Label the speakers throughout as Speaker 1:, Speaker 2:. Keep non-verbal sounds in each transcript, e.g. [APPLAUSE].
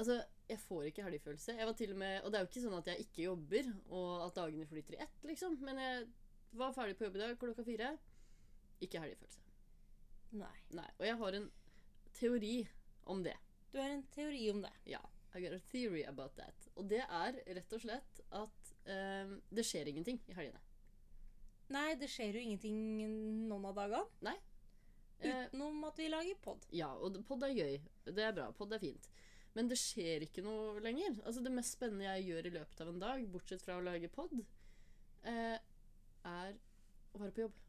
Speaker 1: altså, jeg får ikke helgefølelse. Jeg var til og med Og det er jo ikke sånn at jeg ikke jobber, og at dagene flyter i ett, liksom, men jeg var ferdig på jobb i dag klokka fire. Ikke helgefølelse.
Speaker 2: Nei.
Speaker 1: Nei. Og jeg har en teori om det.
Speaker 2: Du har en teori om det.
Speaker 1: Ja. I got a theory about that. Og det er rett og slett at eh, det skjer ingenting i helgene.
Speaker 2: Nei, det skjer jo ingenting noen av dagene.
Speaker 1: Eh,
Speaker 2: Utenom at vi lager pod.
Speaker 1: Ja, og det- podd er gøy. Det er bra. Podd er fint. Men det skjer ikke noe lenger. Altså Det mest spennende jeg gjør i løpet av en dag, bortsett fra å lage podd, eh, er å være på jobb.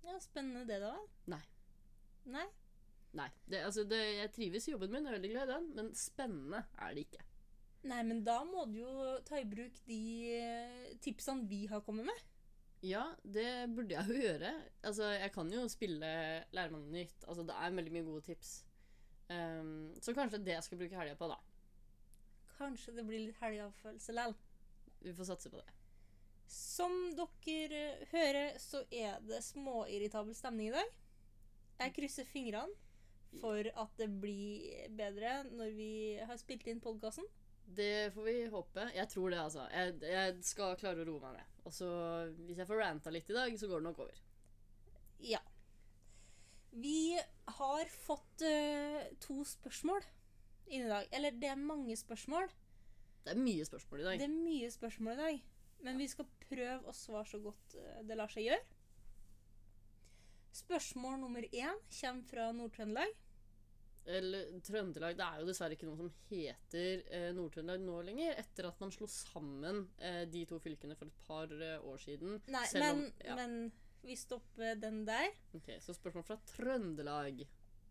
Speaker 2: Ja, spennende det, da.
Speaker 1: Nei.
Speaker 2: Nei?
Speaker 1: Nei. Det, altså det, Jeg trives i jobben min, jeg er veldig glad i den, men spennende er det ikke.
Speaker 2: Nei, men da må du jo ta i bruk de eh, tipsene vi har kommet med.
Speaker 1: Ja, det burde jeg jo gjøre. Altså Jeg kan jo spille Lære meg noe nytt. Altså Det er veldig mye gode tips. Ehm, så kanskje det er det jeg skal bruke helga på, da.
Speaker 2: Kanskje det blir litt helgefølelse likevel.
Speaker 1: Vi får satse på det.
Speaker 2: Som dere eh, hører, så er det småirritabel stemning i dag. Jeg krysser fingrene for at det blir bedre når vi har spilt inn podkasten.
Speaker 1: Det får vi håpe. Jeg tror det, altså. Jeg, jeg skal klare å roe meg ned. Og så, hvis jeg får ranta litt i dag, så går det nok over.
Speaker 2: Ja. Vi har fått eh, to spørsmål inn i dag. Eller det er mange spørsmål.
Speaker 1: Det er mye spørsmål i dag.
Speaker 2: Det er mye spørsmål i dag, men vi skal prøve å svare så godt eh, det lar seg gjøre. Spørsmål nummer én kommer fra Nord-Trøndelag.
Speaker 1: Eller Trøndelag Det er jo dessverre ikke noe som heter eh, Nord-Trøndelag nå lenger, etter at man slo sammen eh, de to fylkene for et par eh, år siden.
Speaker 2: Nei,
Speaker 1: Selv
Speaker 2: men,
Speaker 1: om- ja.
Speaker 2: men vi stopper den der.
Speaker 1: Ok, Så spørsmål fra Trøndelag.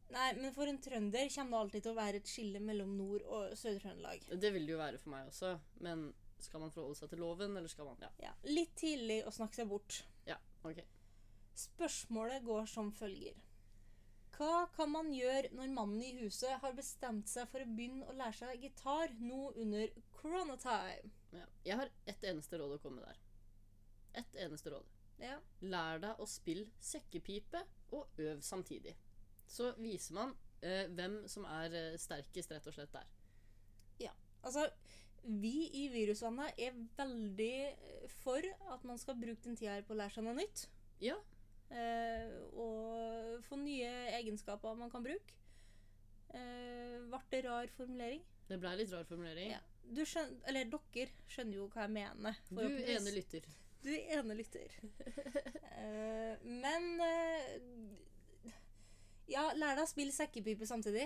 Speaker 2: Nei, men for en trønder kommer det alltid til å være et skille mellom Nord- og Sør-Trøndelag.
Speaker 1: Det vil det jo være for meg også, men skal man forholde seg til loven, eller skal man Ja,
Speaker 2: Ja, litt tidlig å snakke seg bort.
Speaker 1: ok.
Speaker 2: Spørsmålet går som følger. Hva kan man gjøre når mannen i huset har bestemt seg for å begynne å lære seg gitar nå under coronatime?
Speaker 1: Ja. Jeg har ett eneste råd å komme med der. Ett eneste råd.
Speaker 2: Ja.
Speaker 1: Lær deg å spille sekkepipe og øv samtidig. Så viser man eh, hvem som er eh, sterkest, rett og slett, der.
Speaker 2: Altså, vi i Virusvannet er veldig eh, for at man skal bruke den tida her på å lære seg noe nytt.
Speaker 1: Ja.
Speaker 2: Eh, og få nye egenskaper man kan bruke. Eh, ble det rar formulering?
Speaker 1: Det blei litt rar formulering.
Speaker 2: Ja. Du skjøn, eller dere skjønner jo hva jeg mener.
Speaker 1: Du ene lytter.
Speaker 2: Du ene
Speaker 1: [LAUGHS]
Speaker 2: lytter. Eh, men eh, Ja, lær deg å spille sekkepipe samtidig.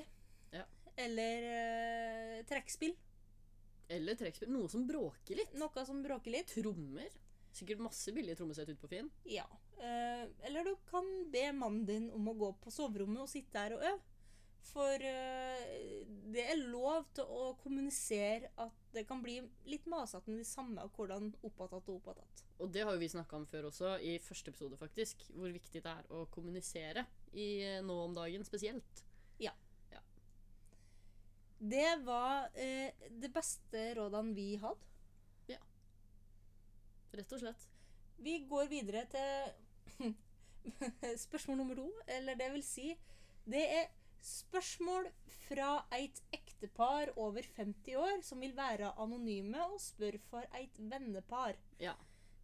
Speaker 1: Ja.
Speaker 2: Eller eh, trekkspill.
Speaker 1: Eller trekkspill. Noe som bråker litt.
Speaker 2: Noe som bråker litt.
Speaker 1: Trommer. Sikkert masse billige trommesett ute på Finn.
Speaker 2: Ja. Eh, eller du kan be mannen din om å gå på soverommet og sitte der og øve. For eh, det er lov til å kommunisere at det kan bli litt masete med de samme og hvordan oppattatt og oppattatt.
Speaker 1: Og det har jo vi snakka om før også, i første episode, faktisk. Hvor viktig det er å kommunisere i eh, nå om dagen spesielt.
Speaker 2: Det var eh, det beste rådene vi hadde.
Speaker 1: Rett og slett.
Speaker 2: Vi går videre til [LAUGHS] spørsmål nummer to, eller det vil si Det er spørsmål fra et ektepar over 50 år som vil være anonyme og spør for et vennepar.
Speaker 1: Ja.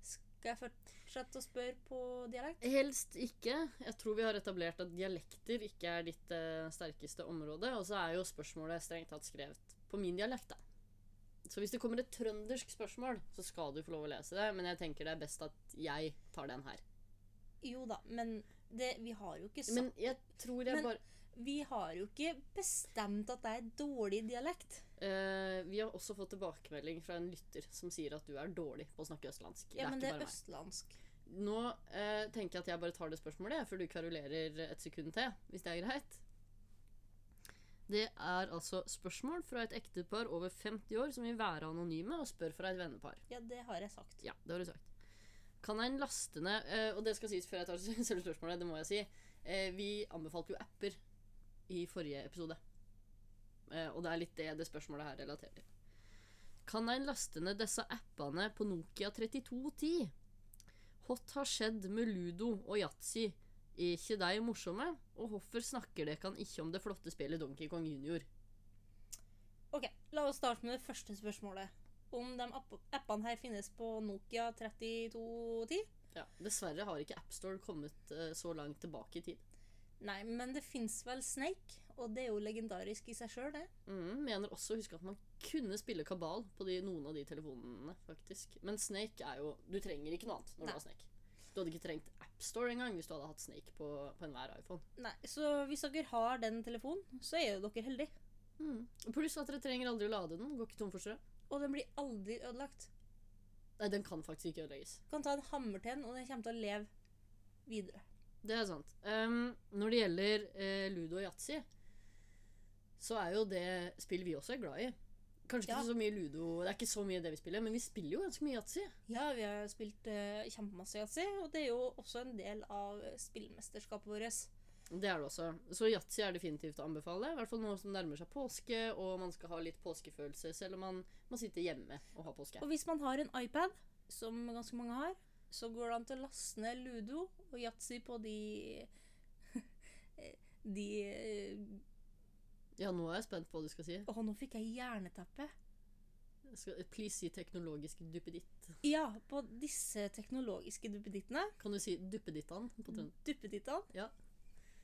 Speaker 2: Skal jeg fortsette å spørre på dialekt?
Speaker 1: Helst ikke. Jeg tror vi har etablert at dialekter ikke er ditt eh, sterkeste område. Og så er jo spørsmålet strengt tatt skrevet på min dialekt, da. Så hvis det kommer et trøndersk spørsmål, så skal du få lov å lese det. Men jeg tenker det er best at jeg tar den her.
Speaker 2: Jo da, men det, vi har jo ikke sagt
Speaker 1: Men jeg tror jeg
Speaker 2: Men-
Speaker 1: bare
Speaker 2: Vi har jo ikke bestemt at det er dårlig dialekt.
Speaker 1: eh, Vi har også fått tilbakemelding fra en lytter som sier at du er dårlig på å snakke østlandsk.
Speaker 2: Ja, men
Speaker 1: det
Speaker 2: det
Speaker 1: er
Speaker 2: er
Speaker 1: ikke bare meg.
Speaker 2: østlandsk.
Speaker 1: Nå eh, tenker jeg at jeg bare tar det spørsmålet, jeg, før du karulerer et sekund til, hvis det er greit. Det er altså spørsmål fra et ektepar over 50 år som vil være anonyme og spør fra et vennepar.
Speaker 2: Ja, det har jeg sagt.
Speaker 1: Ja, det har du sagt. Kan en laste ned eh, Og det skal sies før jeg tar [LAUGHS] selve spørsmålet, det må jeg si. Eh, vi anbefalte jo apper i forrige episode. Eh, og det er litt det det spørsmålet her relaterer til. Kan en laste ned disse appene på Nokia 3210? Hot har skjedd med Ludo og Yatzy. Er ikke de morsomme? Og hvorfor snakker dere ikke om det flotte spillet Donkey Kong Junior?
Speaker 2: Ok, La oss starte med det første spørsmålet. Om de app- appene her finnes på Nokia 3210?
Speaker 1: Ja, Dessverre har ikke AppStore kommet eh, så langt tilbake i tid.
Speaker 2: Nei, men det fins vel Snake, og det er jo legendarisk i seg sjøl, det.
Speaker 1: Mm, mener også å huske at man kunne spille kabal på de, noen av de telefonene, faktisk. Men Snake er jo Du trenger ikke noe annet når
Speaker 2: Nei.
Speaker 1: du har Snake. Du hadde ikke trengt AppStore engang hvis du hadde hatt Snake på, på enhver iPhone.
Speaker 2: Nei, Så hvis dere har den telefonen, så er jo dere heldige. Mm.
Speaker 1: Pluss at dere trenger aldri å lade den. Går ikke tom for strøm.
Speaker 2: Og den blir aldri ødelagt.
Speaker 1: Nei, den kan faktisk ikke ødelegges.
Speaker 2: Du kan ta en hammer til den, og den kommer til å leve videre.
Speaker 1: Det er sant. Ehm, når det gjelder eh, Ludo og Yatzy, så er jo det spill vi også er glad i. Kanskje
Speaker 2: Ja.
Speaker 1: ikke så mye Ludo, det er ikke så mye det vi spiller, men vi spiller jo ganske mye Yatzy.
Speaker 2: Ja, vi har spilt eh, kjempemasse yatzy, og det er jo også en del av spillmesterskapet vårt.
Speaker 1: Det er det også. Så Yatzy er definitivt å anbefale. I hvert fall nå som nærmer seg påske, og man skal ha litt påskefølelse, selv om man må sitte hjemme og ha påske.
Speaker 2: Og hvis man har en iPad, som ganske mange har, så går det an til å laste ned Ludo og Yatzy på de [LAUGHS] De
Speaker 1: Ja, nå er jeg spent på hva du skal si.
Speaker 2: Å, nå fikk jeg jernteppe.
Speaker 1: Jeg Skal, please si teknologisk duppeditt.
Speaker 2: Ja, på disse teknologiske duppedittene.
Speaker 1: Kan du si duppedittan på trøndersk?
Speaker 2: Duppedittene.
Speaker 1: Mm. Ja.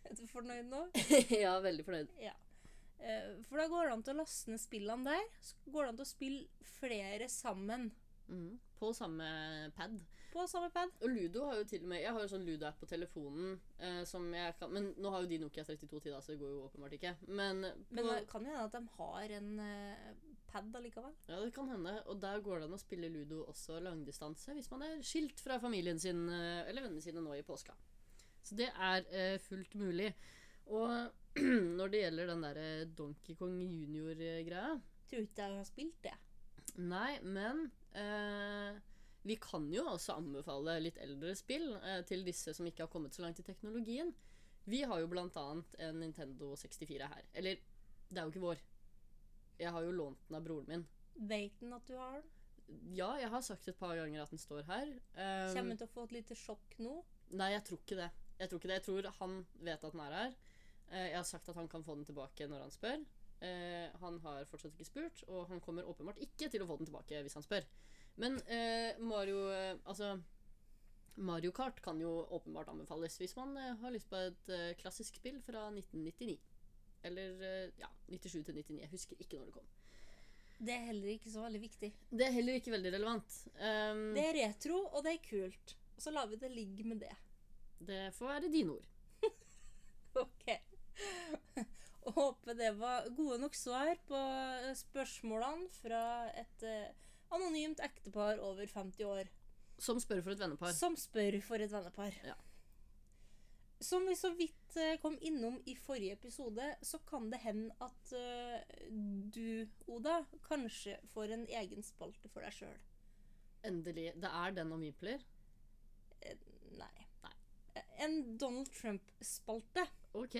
Speaker 2: Er du fornøyd nå?
Speaker 1: [LAUGHS] ja, veldig fornøyd.
Speaker 2: Ja. Eh, For da går det an til å laste ned spillene der. Så går det an til å spille flere sammen
Speaker 1: Mhm. På samme pad.
Speaker 2: på samme pad.
Speaker 1: Og Ludo har jo til og med Jeg har jo sånn Ludo-app på telefonen eh, som jeg kan Men nå har jo de Nokia 3210, da, så det går jo åpenbart ikke. Men, på,
Speaker 2: Men det kan jo hende at de har en eh, pad allikevel.
Speaker 1: ja, det kan hende. Og der går det an å spille Ludo også langdistanse hvis man er skilt fra familien sin eh, eller vennene sine nå i påska. Så det er eh, fullt mulig. Og [CLEARS THROAT] når det gjelder den derre Donkey Kong junior-greia
Speaker 2: Tror ikke jeg har spilt det.
Speaker 1: Nei, men eh, vi kan jo også anbefale litt eldre spill eh, til disse som ikke har kommet så langt i teknologien. Vi har jo blant annet en Nintendo 64 her. Eller, det er jo ikke vår. Jeg har jo lånt den av broren min.
Speaker 2: Veit den at du har den?
Speaker 1: Ja, jeg har sagt et par ganger at den står her. Eh,
Speaker 2: Kommer hun til å få et lite sjokk nå?
Speaker 1: Nei, jeg tror ikke det. Jeg tror ikke det. Jeg tror han vet at den er her. Eh, Jeg har sagt at han kan få den tilbake når han spør. Eh, Han har fortsatt ikke spurt, og han kommer åpenbart ikke til å få den tilbake hvis han spør. Men eh, Mario eh, Altså Mario Kart kan jo åpenbart anbefales hvis man eh, har lyst på et eh, klassisk spill fra 1999. Eller eh, ja, 97 til 99. Jeg husker ikke når det kom.
Speaker 2: Det er heller ikke så veldig viktig.
Speaker 1: Det er heller ikke veldig relevant. Um,
Speaker 2: Det er retro, og det er kult. Og så lar vi det ligge med det. [LAUGHS]
Speaker 1: det får være dine ord.
Speaker 2: Ok. Og håper det var gode nok svar på eh, spørsmålene fra et eh, anonymt ektepar over 50 år
Speaker 1: Som spør for et vennepar.
Speaker 2: som spør for et vennepar.
Speaker 1: Ja.
Speaker 2: Som vi så vidt eh, kom innom i forrige episode, så kan det hende at eh, du, Oda, kanskje får en egen spalte for deg sjøl.
Speaker 1: Endelig. Det er den om Vimpler.
Speaker 2: Nei.
Speaker 1: Nei.
Speaker 2: En Donald Trump-spalte,
Speaker 1: Ok.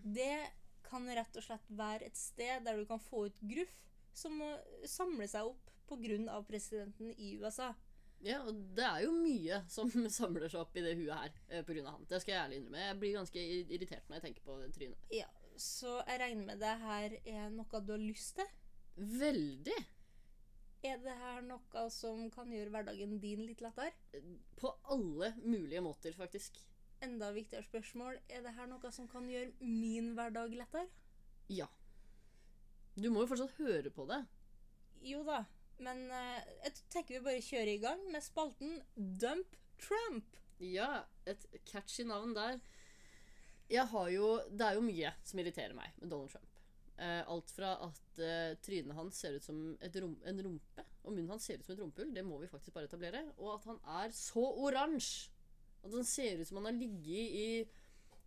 Speaker 2: det kan rett og slett være et sted der du kan få ut gruff som må samle seg opp pga. presidenten i USA.
Speaker 1: Ja, og det er jo mye som [LAUGHS] samler seg opp i det huet her eh, på grunn av han. Det skal jeg ærlig innrømme. Jeg blir ganske i- irritert når jeg tenker på det trynet.
Speaker 2: Ja, Så jeg regner med det her er noe du har lyst til?
Speaker 1: Veldig!
Speaker 2: Er det her noe som kan gjøre hverdagen din litt lettere?
Speaker 1: På alle mulige måter, faktisk.
Speaker 2: Enda viktigere spørsmål, er det her noe som kan gjøre min hverdag lettere?
Speaker 1: Ja. Du må jo fortsatt høre på det.
Speaker 2: Jo da, men eh, jeg tenker vi bare kjører i gang med spalten Dump Trump.
Speaker 1: Ja, et catchy navn der. Jeg har jo, det er jo mye som irriterer meg med Donald Trump. Eh, alt fra at eh, trynet hans ser ut som et rom, en rumpe, og munnen hans ser ut som et rumpehull, det må vi faktisk bare etablere, og at han er så oransje! At han ser ut som han har ligget i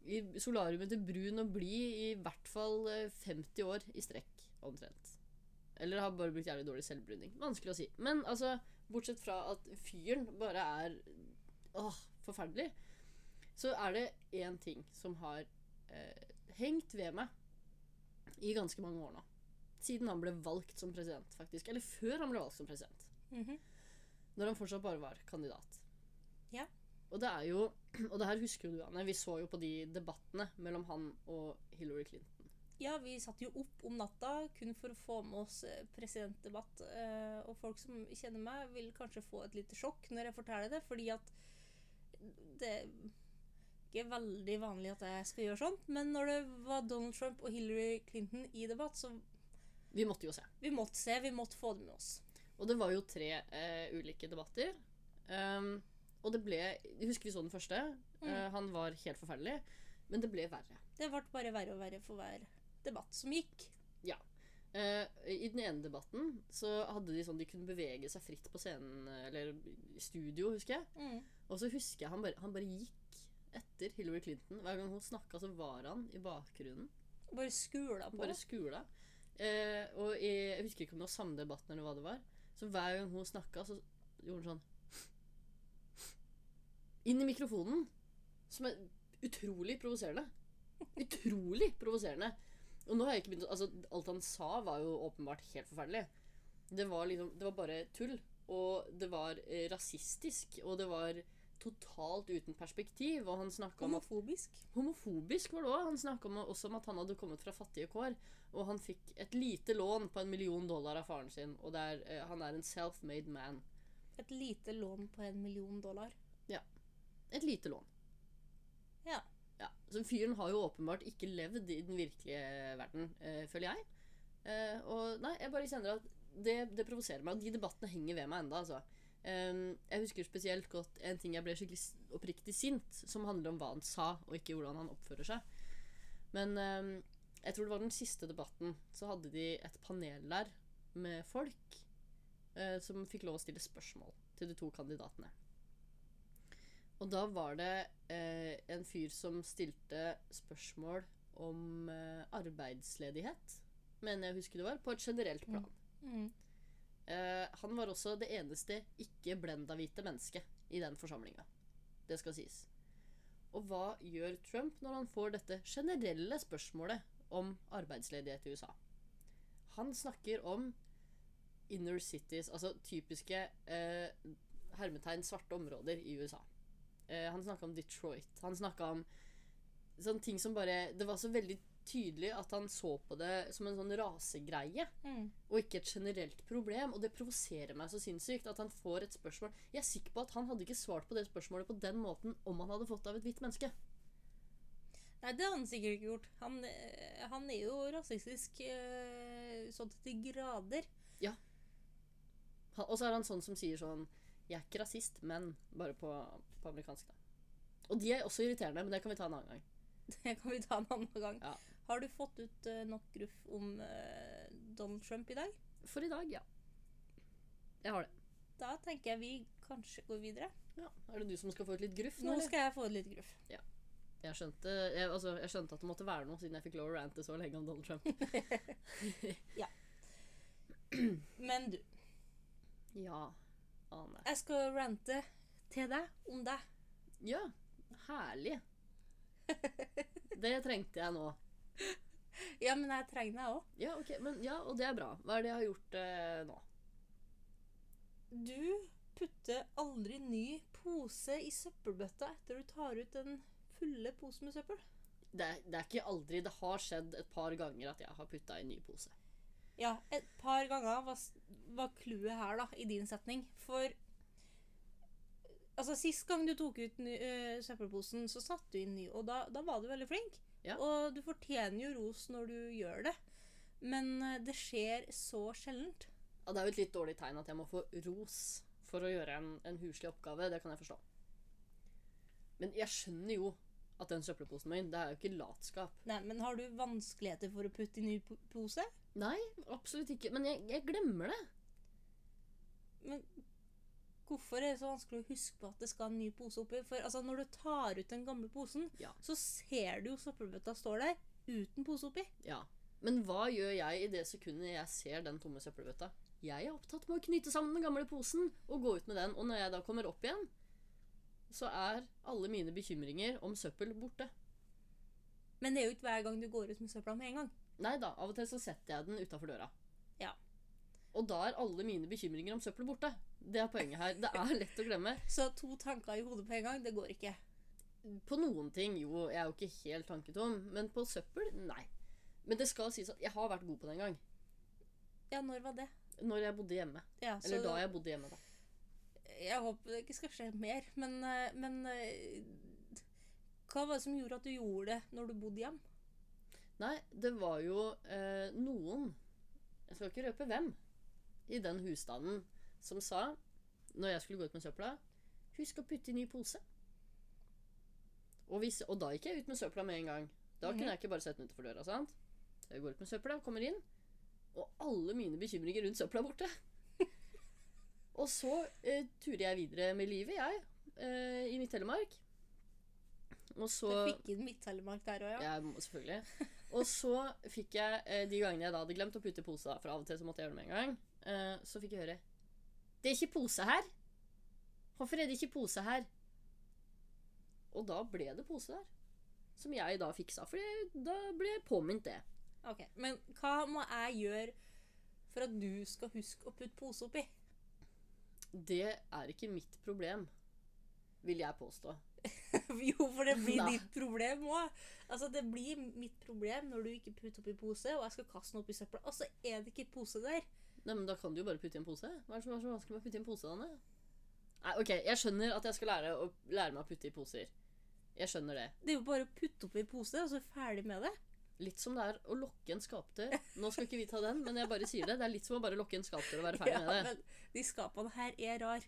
Speaker 1: i solariumet til brun og blid i hvert fall eh, 50 år i strekk, omtrent. Eller har bare brukt jævlig dårlig selvbruning. Vanskelig å si. Men altså, bortsett fra at fyren bare er åh, forferdelig, så er det én ting som har eh, hengt ved meg i ganske mange år nå. Siden han ble valgt som president, faktisk. Eller før han ble valgt som president.
Speaker 2: Mhm.
Speaker 1: Når han fortsatt bare var kandidat.
Speaker 2: Ja.
Speaker 1: Og det er jo [CLEARS THROAT] Og det her husker jo du, Anne. Vi så jo på de debattene mellom han og Hillary Clinton.
Speaker 2: Ja, vi satt jo opp om natta kun for å få med oss eh, presidentdebatt. eh, Og folk som kjenner meg, vil kanskje få et lite sjokk når jeg forteller det, fordi at det er ikke veldig vanlig at jeg skal gjøre sånt, men når det var Donald Trump og Hillary Clinton i debatt, så
Speaker 1: Vi måtte jo se.
Speaker 2: vi måtte se, vi måtte få det med oss.
Speaker 1: Og det var jo tre eh, ulike debatter. Ehm, og det ble Jeg husker vi så den første.
Speaker 2: Mm.
Speaker 1: Eh, han var helt forferdelig. Men det ble verre.
Speaker 2: Det ble bare verre og verre for hver debatt som gikk.
Speaker 1: Eh, I den ene debatten så hadde de sånn de kunne bevege seg fritt på scenen, eh, eller i studio, husker jeg.
Speaker 2: Mm.
Speaker 1: Og så husker jeg han bare, han bare gikk etter Hillary Clinton. Hver gang hun snakka, så var han i bakgrunnen.
Speaker 2: Bare skula på.
Speaker 1: Bare skula. Eh, og i, jeg husker ikke om det var samme debatten eller hva det var. Så hver gang hun snakka, så gjorde hun sånn Inn i mikrofonen. Som er utrolig provoserende. Utrolig provoserende. Og nå har jeg ikke begynt å Altså, alt han sa, var jo åpenbart helt forferdelig. Det var liksom Det var bare tull. Og det var eh, rasistisk. Og det var totalt uten perspektiv. Og han snakka om at
Speaker 2: Homofobisk.
Speaker 1: Homofobisk var det òg. Han snakka også om at han hadde kommet fra fattige kår, og han fikk et lite lån på en million dollar av faren sin, og det er, eh, han er en self-made man.
Speaker 2: Et lite lån på en million dollar.
Speaker 1: Et lite lån.
Speaker 2: Ja.
Speaker 1: ja. Så fyren har jo åpenbart ikke levd i den virkelige verden, eh, føler jeg. Eh, og nei, jeg bare kjenner at det, det provoserer meg, og de debattene henger ved meg enda, altså. Eh, jeg husker spesielt godt en ting jeg ble skikkelig s- oppriktig sint, som handler om hva han sa, og ikke hvordan han oppfører seg. Men eh, jeg tror det var den siste debatten, så hadde de et panel der med folk eh, som fikk lov å stille spørsmål til de to kandidatene. Og da var det eh, en fyr som stilte spørsmål om eh, arbeidsledighet, mener jeg husker det var, på et generelt plan.
Speaker 2: Mm.
Speaker 1: Eh, han var også det eneste ikke-blenda-hvite mennesket i den forsamlinga. Det skal sies. Og hva gjør Trump når han får dette generelle spørsmålet om arbeidsledighet i USA? Han snakker om inner cities, altså typiske eh, hermetegn svarte områder i USA. Eh, han snakka om Detroit. Han snakka om sånne ting som bare Det var så veldig tydelig at han så på det som en sånn rasegreie
Speaker 2: Mm.
Speaker 1: og ikke et generelt problem. Og det provoserer meg så sinnssykt at han får et spørsmål Jeg er sikker på at han hadde ikke svart på det spørsmålet på den måten om han hadde fått det av et hvitt menneske.
Speaker 2: Nei, det hadde han sikkert ikke gjort. Han, eh, han er jo rasistisk eh, sånn til de grader. [LAUGHS]
Speaker 1: Han- Og så er han sånn som sier sånn Jeg er ikke rasist, men Bare på, på amerikansk, da. Og de er også irriterende, men det kan vi ta en annen gang.
Speaker 2: Det kan vi ta en annen gang.
Speaker 1: Ja.
Speaker 2: Har du fått ut eh, nok gruff om eh, Donald Trump i dag?
Speaker 1: For i dag, ja. Jeg har det.
Speaker 2: Da tenker jeg vi kanskje går videre.
Speaker 1: Ja. Er det du som skal få ut litt gruff nå,
Speaker 2: Nå
Speaker 1: eller?
Speaker 2: skal jeg få ut litt gruff.
Speaker 1: Jeg skjønte, jeg, altså, jeg skjønte at det måtte være noe, siden jeg fikk lov å rante så lenge om Donald Trump.
Speaker 2: Men du,
Speaker 1: [LAUGHS] ja. Ane.
Speaker 2: jeg skal rante til deg om deg.
Speaker 1: Ja, herlig. [LAUGHS] Det trengte jeg nå.
Speaker 2: Ja, men jeg trenger deg òg.
Speaker 1: Ja, ok, men, ja, og det er bra. Hva er det jeg har gjort eh, nå?
Speaker 2: Du putter aldri ny pose i søppelbøtta etter du tar ut den fulle posen med søppel.
Speaker 1: Det er, det er ikke aldri, det har skjedd et par ganger at jeg har putta i ny pose.
Speaker 2: Ja, et par ganger var, var clouet her, da, i din setning. For Altså, sist gang du tok ut ny, øh, søppelposen, så satte du inn ny, og da, da var du veldig flink.
Speaker 1: Ja.
Speaker 2: Og du fortjener jo ros når du gjør det, men øh, det skjer så sjeldent.
Speaker 1: Ja, det er jo et litt dårlig tegn at jeg må få ros for å gjøre en, en huslig oppgave. Det kan jeg forstå. Men jeg skjønner jo at den søppelposen min, det er jo ikke latskap.
Speaker 2: Nei, men har du vanskeligheter for å putte i ny po- pose?
Speaker 1: Nei, absolutt ikke. Men jeg, jeg glemmer det.
Speaker 2: Men Hvorfor er det så vanskelig å huske på at det skal en ny pose oppi? For altså, når du tar ut den gamle posen,
Speaker 1: Ja.
Speaker 2: så ser du jo søppelbøtta står der uten pose oppi.
Speaker 1: Ja. Men hva gjør jeg i det sekundet jeg ser den tomme søppelbøtta? Jeg er opptatt med å knyte sammen den gamle posen og gå ut med den. Og når jeg da kommer opp igjen, så er alle mine bekymringer om søppel borte.
Speaker 2: Men det er jo ikke hver gang du går ut med søpla med en gang.
Speaker 1: Nei da, av og til så setter jeg den utafor døra.
Speaker 2: Ja.
Speaker 1: Og da er alle mine bekymringer om søppel borte. Det er poenget her. Det er lett å glemme.
Speaker 2: Så to tanker i hodet på en gang, det går ikke.
Speaker 1: På noen ting, jo, jeg er jo ikke helt tanketom. Men på søppel, nei. Men det skal sies at jeg har vært god på det en gang.
Speaker 2: Ja, når var det?
Speaker 1: Når jeg bodde hjemme.
Speaker 2: Ja,
Speaker 1: Eller
Speaker 2: så-
Speaker 1: da jeg bodde hjemme, da.
Speaker 2: Jeg håper det ikke skal skje mer, men, eh, men eh, Hva var det som gjorde at du gjorde det når du bodde hjem?
Speaker 1: Nei, det var jo eh, noen Jeg skal ikke røpe hvem i den husstanden som sa, når jeg skulle gå ut med søpla, husk å putte i ny pose. Og, hvis, og da gikk jeg ut med søpla med en gang. Da
Speaker 2: Mhm.
Speaker 1: kunne jeg ikke bare sette den utenfor døra. sant? Jeg går ut med søpla, kommer inn, og alle mine bekymringer rundt søpla er
Speaker 2: [LAUGHS]
Speaker 1: borte. og så eh, turer jeg videre med livet, jeg, eh, i Midt-Telemark. Og så
Speaker 2: Du fikk inn Midt-Telemark der òg, ja?
Speaker 1: jeg må selvfølgelig. Og så fikk jeg, eh, de gangene jeg da hadde glemt å putte i pose, da, for av og til så måtte jeg gjøre det med en gang, eh, så fikk jeg høre Det er ikke pose her! Hvorfor er det ikke pose her? Og da ble det pose der. Som jeg da fiksa, for da ble jeg påminnet det.
Speaker 2: Ok, Men hva må jeg gjøre for at du skal huske å putte pose oppi? [LAUGHS]
Speaker 1: Det er ikke mitt problem, vil jeg påstå.
Speaker 2: jo, for det blir
Speaker 1: Nei.
Speaker 2: ditt problem òg. Altså, det blir mitt problem når du ikke putter oppi pose, og jeg skal kaste den oppi søpla, og så er det ikke pose der.
Speaker 1: Nei, men da kan du jo bare putte i en pose. Hva er det som er så vanskelig med å putte i en pose, Anne? Nei, ok, jeg skjønner at jeg skal lære, å, lære meg å putte i poser. Jeg skjønner det.
Speaker 2: Det er jo bare å putte oppi pose, og så er ferdig med det.
Speaker 1: Litt som det er å lokke en skapdør. Nå skal ikke vi ta den, men jeg bare sier det. Det er litt som å bare lokke en skapdør
Speaker 2: [LAUGHS]
Speaker 1: og være ferdig med det.
Speaker 2: men de skapene her er rar.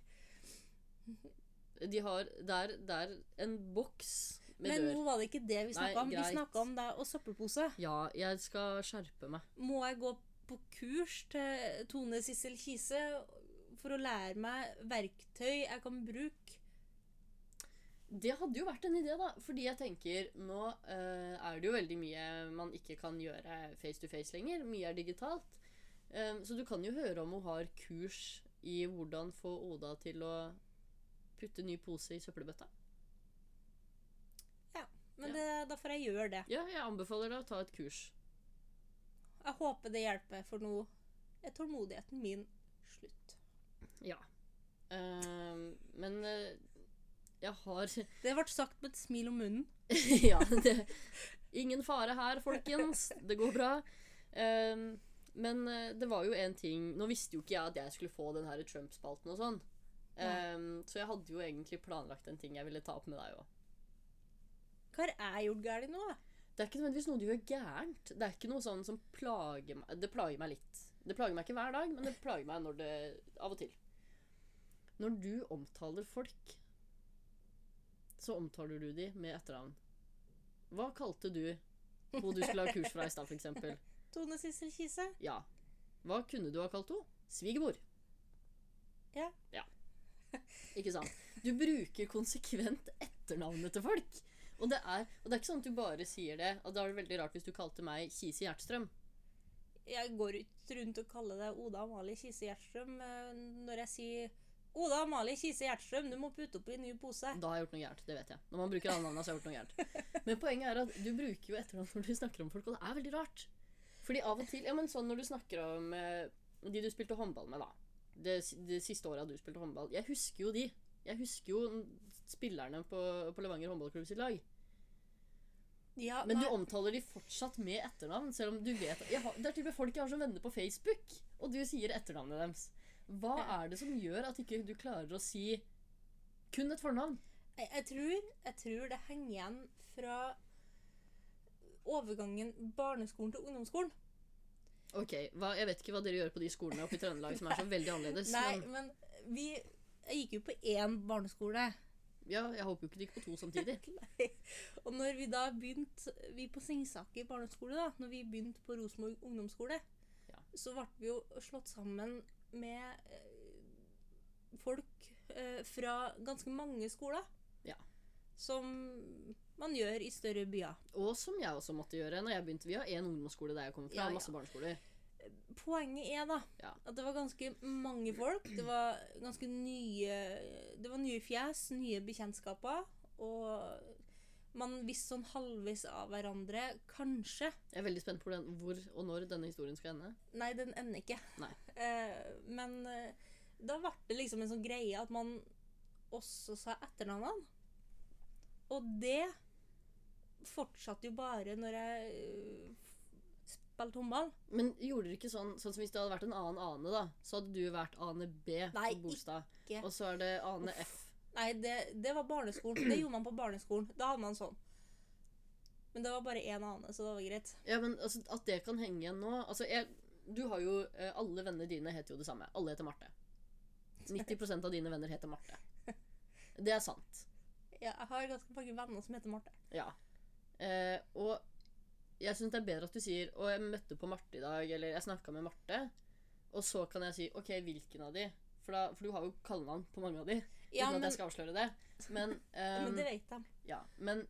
Speaker 1: De har, det, er, det er en boks med
Speaker 2: Men
Speaker 1: dør.
Speaker 2: nå var det ikke det vi
Speaker 1: Nei,
Speaker 2: snakka om. Vi
Speaker 1: greit.
Speaker 2: snakka om deg og søppelpose.
Speaker 1: Ja, jeg skal skjerpe meg.
Speaker 2: Må jeg gå på kurs til Tone Sissel Kise for å lære meg verktøy jeg kan bruke?
Speaker 1: Det hadde jo vært en idé, da. Fordi jeg tenker, nå eh, er det jo veldig mye man ikke kan gjøre face to face lenger. Mye er digitalt. Eh, så du kan jo høre om hun har kurs i hvordan få Oda til å putte ny pose i søppelbøtta.
Speaker 2: Men det, da får jeg gjøre det.
Speaker 1: Ja, jeg anbefaler deg å ta et kurs.
Speaker 2: Jeg håper det hjelper, for nå er tålmodigheten min slutt.
Speaker 1: Ja. Ehm, men eh, jeg har [LAUGHS]
Speaker 2: Det ble sagt med et smil om munnen.
Speaker 1: Ja, det Ingen fare her, folkens. Det går bra. Ehm, men eh, det var jo en ting Nå visste jo ikke jeg at jeg skulle få den her Trump-spalten og sånn. Ehm, så jeg hadde jo egentlig planlagt en ting jeg ville ta opp med deg òg.
Speaker 2: Hva har jeg gjort galt nå?
Speaker 1: Det er ikke nødvendigvis noe du gjør gærent. Det er ikke noe sånn som plager meg Det plager meg litt. Det plager meg ikke hver dag, men det plager meg når det, av og til. Når du omtaler folk, så omtaler du de med etternavn. Hva kalte du hun du skulle ha kurs fra i stad, f.eks.?
Speaker 2: Tone Sissel Kise?
Speaker 1: Ja. Hva kunne du ha kalt henne? Svigermor.
Speaker 2: Ja.
Speaker 1: ja. Ikke sant? Du bruker konsekvent etternavnet til folk. Og det, er, og det er ikke sånn at du bare sier det. Og da er det veldig rart hvis du kalte meg Kise Hjertstrøm.
Speaker 2: Jeg går ikke rundt og kaller deg Oda Amalie Kise Gjertstrøm eh, når jeg sier Oda Amalie Kise Gjertstrøm, du må putte opp i en ny pose.
Speaker 1: Da har jeg gjort noe gærent. Det vet jeg. Når man bruker alle navnene, så har jeg gjort noe gærent. Men poenget er at du bruker jo etternavn når du snakker om folk, og det er veldig rart. Fordi av og til Ja, men sånn når du snakker om eh, de du spilte håndball med, da. Det, s- det siste året du spilte håndball. Jeg husker jo de. Jeg husker jo n- spillerne på, på Levanger håndballklubb sitt lag.
Speaker 2: Ja,
Speaker 1: Men du
Speaker 2: nei,
Speaker 1: omtaler de fortsatt med etternavn, selv om du vet at jeg har, Det er til og med folk jeg har som venner på Facebook, og du sier etternavnet deres. Hva er det som gjør at ikke du klarer å si kun et fornavn?
Speaker 2: jeg, jeg, tror, jeg tror det henger igjen fra overgangen barneskolen til ungdomsskolen.
Speaker 1: Ok, hva, Jeg vet ikke hva dere gjør på de skolene oppe i Trøndelag som er så veldig annerledes.
Speaker 2: Nei,
Speaker 1: Men
Speaker 2: men vi Jeg gikk jo på én barneskole.
Speaker 1: ja, jeg håper jo ikke de gikk på to samtidig.
Speaker 2: Og når vi da begynte Vi på Singsaker barneskole, da, når vi begynte på Rosenborg ungdomsskole,
Speaker 1: Ja.
Speaker 2: så ble vi jo slått sammen med eh, folk eh, fra ganske mange skoler.
Speaker 1: Ja.
Speaker 2: Som man gjør i større byer.
Speaker 1: Og som jeg også måtte gjøre når jeg begynte. Vi har én ungdomsskole der jeg kommer fra,
Speaker 2: Ja, ja.
Speaker 1: og masse barneskoler.
Speaker 2: Poenget er da
Speaker 1: Ja.
Speaker 2: at det var ganske mange folk. Det var ganske nye Det var nye fjes, nye bekjentskaper. Og man visste sånn halvveis av hverandre. Kanskje
Speaker 1: Jeg er veldig spent på hvordan- hvor og når denne historien skal ende.
Speaker 2: Nei, den ender ikke.
Speaker 1: Nei.
Speaker 2: [LAUGHS] Eh, men eh, da ble det liksom en sånn greie at man også sa etternavnene. Og det fortsatte jo bare når jeg eh, spilte håndball.
Speaker 1: Men gjorde dere ikke sånn Sånn som hvis det hadde vært en annen Ane, da, så hadde du vært Ane B
Speaker 2: Nei,
Speaker 1: på Bolstad.
Speaker 2: ikke.
Speaker 1: Og så er det Ane F.
Speaker 2: Nei, det, det var barneskolen. Det gjorde man på barneskolen. Da hadde man sånn. Men det var bare én ane, så det var greit.
Speaker 1: Ja, men altså, At det kan henge igjen nå altså, jeg, Du har jo eh, Alle vennene dine heter jo det samme. Alle
Speaker 2: [LAUGHS]
Speaker 1: heter Marte. 90 av dine venner heter Marte. Det er sant.
Speaker 2: Jeg jeg har ganske mange venner som heter Marte.
Speaker 1: Ja. Eh, og jeg syns det er bedre at du sier Og jeg møtte på Marte i dag, eller jeg snakka med Marte. Og så kan jeg si OK, hvilken av de? For, da, for du har jo kallenavn på mange av de.
Speaker 2: Ja,
Speaker 1: uten at
Speaker 2: men,
Speaker 1: jeg skal avsløre det.
Speaker 2: [LAUGHS]
Speaker 1: Men, ehm,
Speaker 2: men det vet de.
Speaker 1: ja. men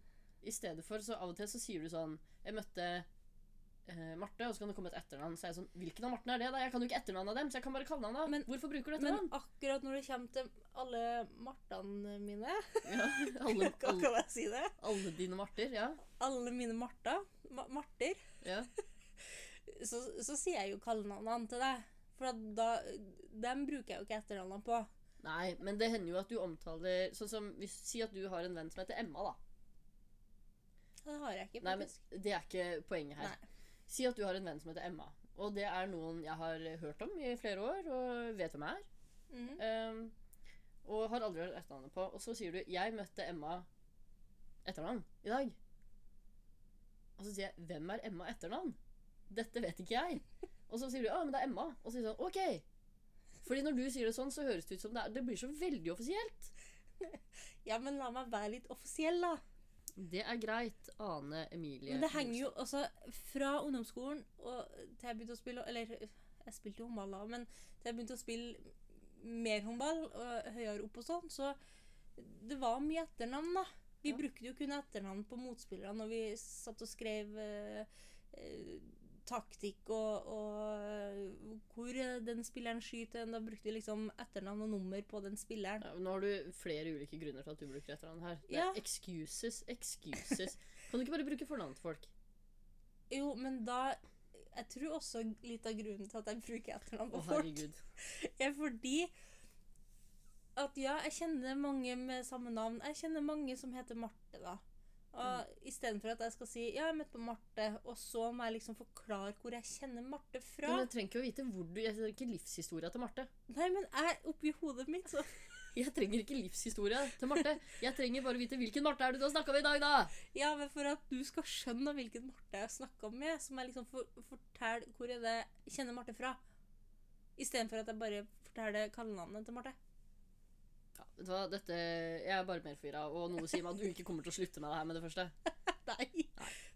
Speaker 1: i stedet for, så av og til så sier du sånn Jeg møtte eh, Marte, og så kan det komme et etternavn. Så er jeg sånn Hvilken av Martene er det? da? Jeg kan jo ikke etternavnet av dem, så jeg kan bare kalle han da.
Speaker 2: Men-
Speaker 1: Hvorfor
Speaker 2: [LAUGHS]
Speaker 1: bruker du
Speaker 2: Men
Speaker 1: etternavn?
Speaker 2: akkurat når det kommer til alle Martene mine
Speaker 1: Ja,
Speaker 2: [LAUGHS]
Speaker 1: alle,
Speaker 2: Kan
Speaker 1: alle,
Speaker 2: kan jeg si det?
Speaker 1: alle dine Marter, ja.
Speaker 2: alle mine Marta, ma Marter,
Speaker 1: ja.
Speaker 2: så, så sier jeg jo kallenavnene til deg. For at da, dem bruker jeg jo ikke etternavnene på.
Speaker 1: Nei, men det hender jo at du omtaler Sånn som, hvis, Si at du har en venn som heter Emma, da.
Speaker 2: Det har jeg ikke,
Speaker 1: Nei, men
Speaker 2: faktisk.
Speaker 1: Det er ikke poenget her.
Speaker 2: Nei.
Speaker 1: Si at du har en venn som heter Emma. Og det er noen jeg har hørt om i flere år, og vet hvem er.
Speaker 2: Mhm.
Speaker 1: Ehm, og har aldri hørt etternavnet på. Og så sier du 'Jeg møtte Emma etternavn i dag'. Og så sier jeg 'Hvem er Emma etternavn?' Dette vet ikke jeg. Og så sier du 'Å, men det er Emma'. Og så sier du sånn 'Ok'. Fordi når du sier det sånn, så høres det ut som det er Det blir så veldig offisielt.
Speaker 2: Ja, men la meg være litt offisiell, da.
Speaker 1: Det er greit, Ane Emilie.
Speaker 2: Men det henger jo også fra ungdomsskolen og til jeg begynte å spille Eller jeg spilte jo håndball da, men til jeg begynte å spille mer håndball og høyere opp og sånn, så det var mye etternavn, da. Vi
Speaker 1: Ja.
Speaker 2: brukte jo kun etternavn på motspillerne når vi satt og skrev eh, eh, taktikk og, og eh, hvor eh, den spilleren skyter. hen. Da brukte vi liksom etternavn og nummer på den spilleren.
Speaker 1: Ja, Nå har du flere ulike grunner til at du bruker etternavn her. Det
Speaker 2: Ja.
Speaker 1: er excuses,
Speaker 2: [LAUGHS]
Speaker 1: excuses. Kan du ikke bare bruke fornavn til folk?
Speaker 2: Jo, men da Jeg tror også litt av grunnen til at jeg bruker etternavn
Speaker 1: Å,
Speaker 2: på folk.
Speaker 1: herregud.
Speaker 2: er fordi at ja, jeg kjenner mange med samme navn. Jeg kjenner mange som heter Marte, da. Og
Speaker 1: Mm.
Speaker 2: Istedenfor at jeg skal si ja, jeg møtte på Marte, og så må jeg liksom forklare hvor jeg kjenner Marte
Speaker 1: Ja,
Speaker 2: fra.
Speaker 1: men jeg trenger ikke å vite hvor du Jeg trenger ikke livshistoria til Marte.
Speaker 2: Nei, men jeg, oppi hodet mitt, så
Speaker 1: Jeg trenger ikke livshistoria til Marte. Jeg trenger bare vite hvilken Marte er det du har snakka med i dag, da!
Speaker 2: Ja, men for at du skal skjønne hvilken Marte jeg snakker med, så må jeg liksom for, fortelle hvor er det jeg kjenner Marte fra. Istedenfor at jeg bare forteller kallenavnet til Marte. [LAUGHS]
Speaker 1: Ja, vet du hva, dette Jeg er bare mer forvirra, og noe sier meg at du ikke kommer til å slutte med det her med det første.
Speaker 2: Nei.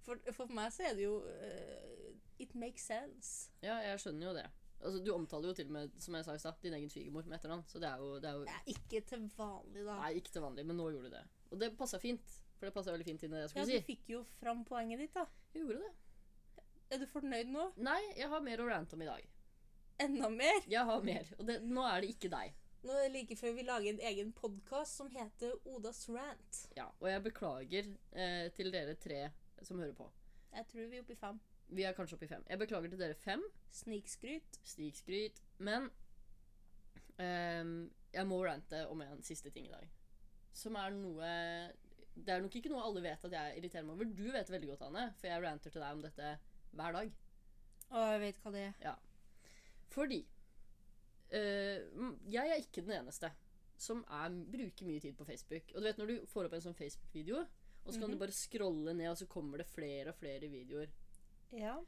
Speaker 2: For, for meg så er det jo eh, It makes sense.
Speaker 1: Ja, jeg skjønner jo det. Altså, Du omtaler jo til og med, som jeg sa i stad, din egen svigermor med etternavn, så det er jo, det er jo
Speaker 2: Det er ikke til vanlig, da.
Speaker 1: Nei, ikke til vanlig, men nå gjorde du det. Og det passa fint. For det passa veldig fint inn i det jeg
Speaker 2: Ja,
Speaker 1: skulle
Speaker 2: du
Speaker 1: si.
Speaker 2: fikk jo fram poenget ditt, da.
Speaker 1: Jeg gjorde det.
Speaker 2: Er du fornøyd nå?
Speaker 1: Nei, jeg har mer å rante om i dag.
Speaker 2: Enda mer?
Speaker 1: Jeg har mer. Og det, nå er det ikke deg.
Speaker 2: Nå er det like før vi lager en egen podkast som heter Odas rant.
Speaker 1: Ja, Og jeg beklager eh, til dere tre som hører på.
Speaker 2: Jeg tror vi er oppe i fem.
Speaker 1: Vi er kanskje oppe i fem. Jeg beklager til dere fem.
Speaker 2: Snikskryt.
Speaker 1: Stigskryt. Men ehm, jeg må rante om en siste ting i dag. Som er noe Det er nok ikke noe alle vet at jeg irriterer meg over. Du vet det veldig godt, Anne, for jeg ranter til deg om dette hver dag.
Speaker 2: Å, jeg vet hva det er.
Speaker 1: Fordi eh, m- Jeg er ikke den eneste som er, bruker mye tid på Facebook. Og du vet når du får opp en sånn Facebook-video, og så kan
Speaker 2: Mhm.
Speaker 1: du bare scrolle ned, og så kommer det flere og flere videoer.
Speaker 2: Ja.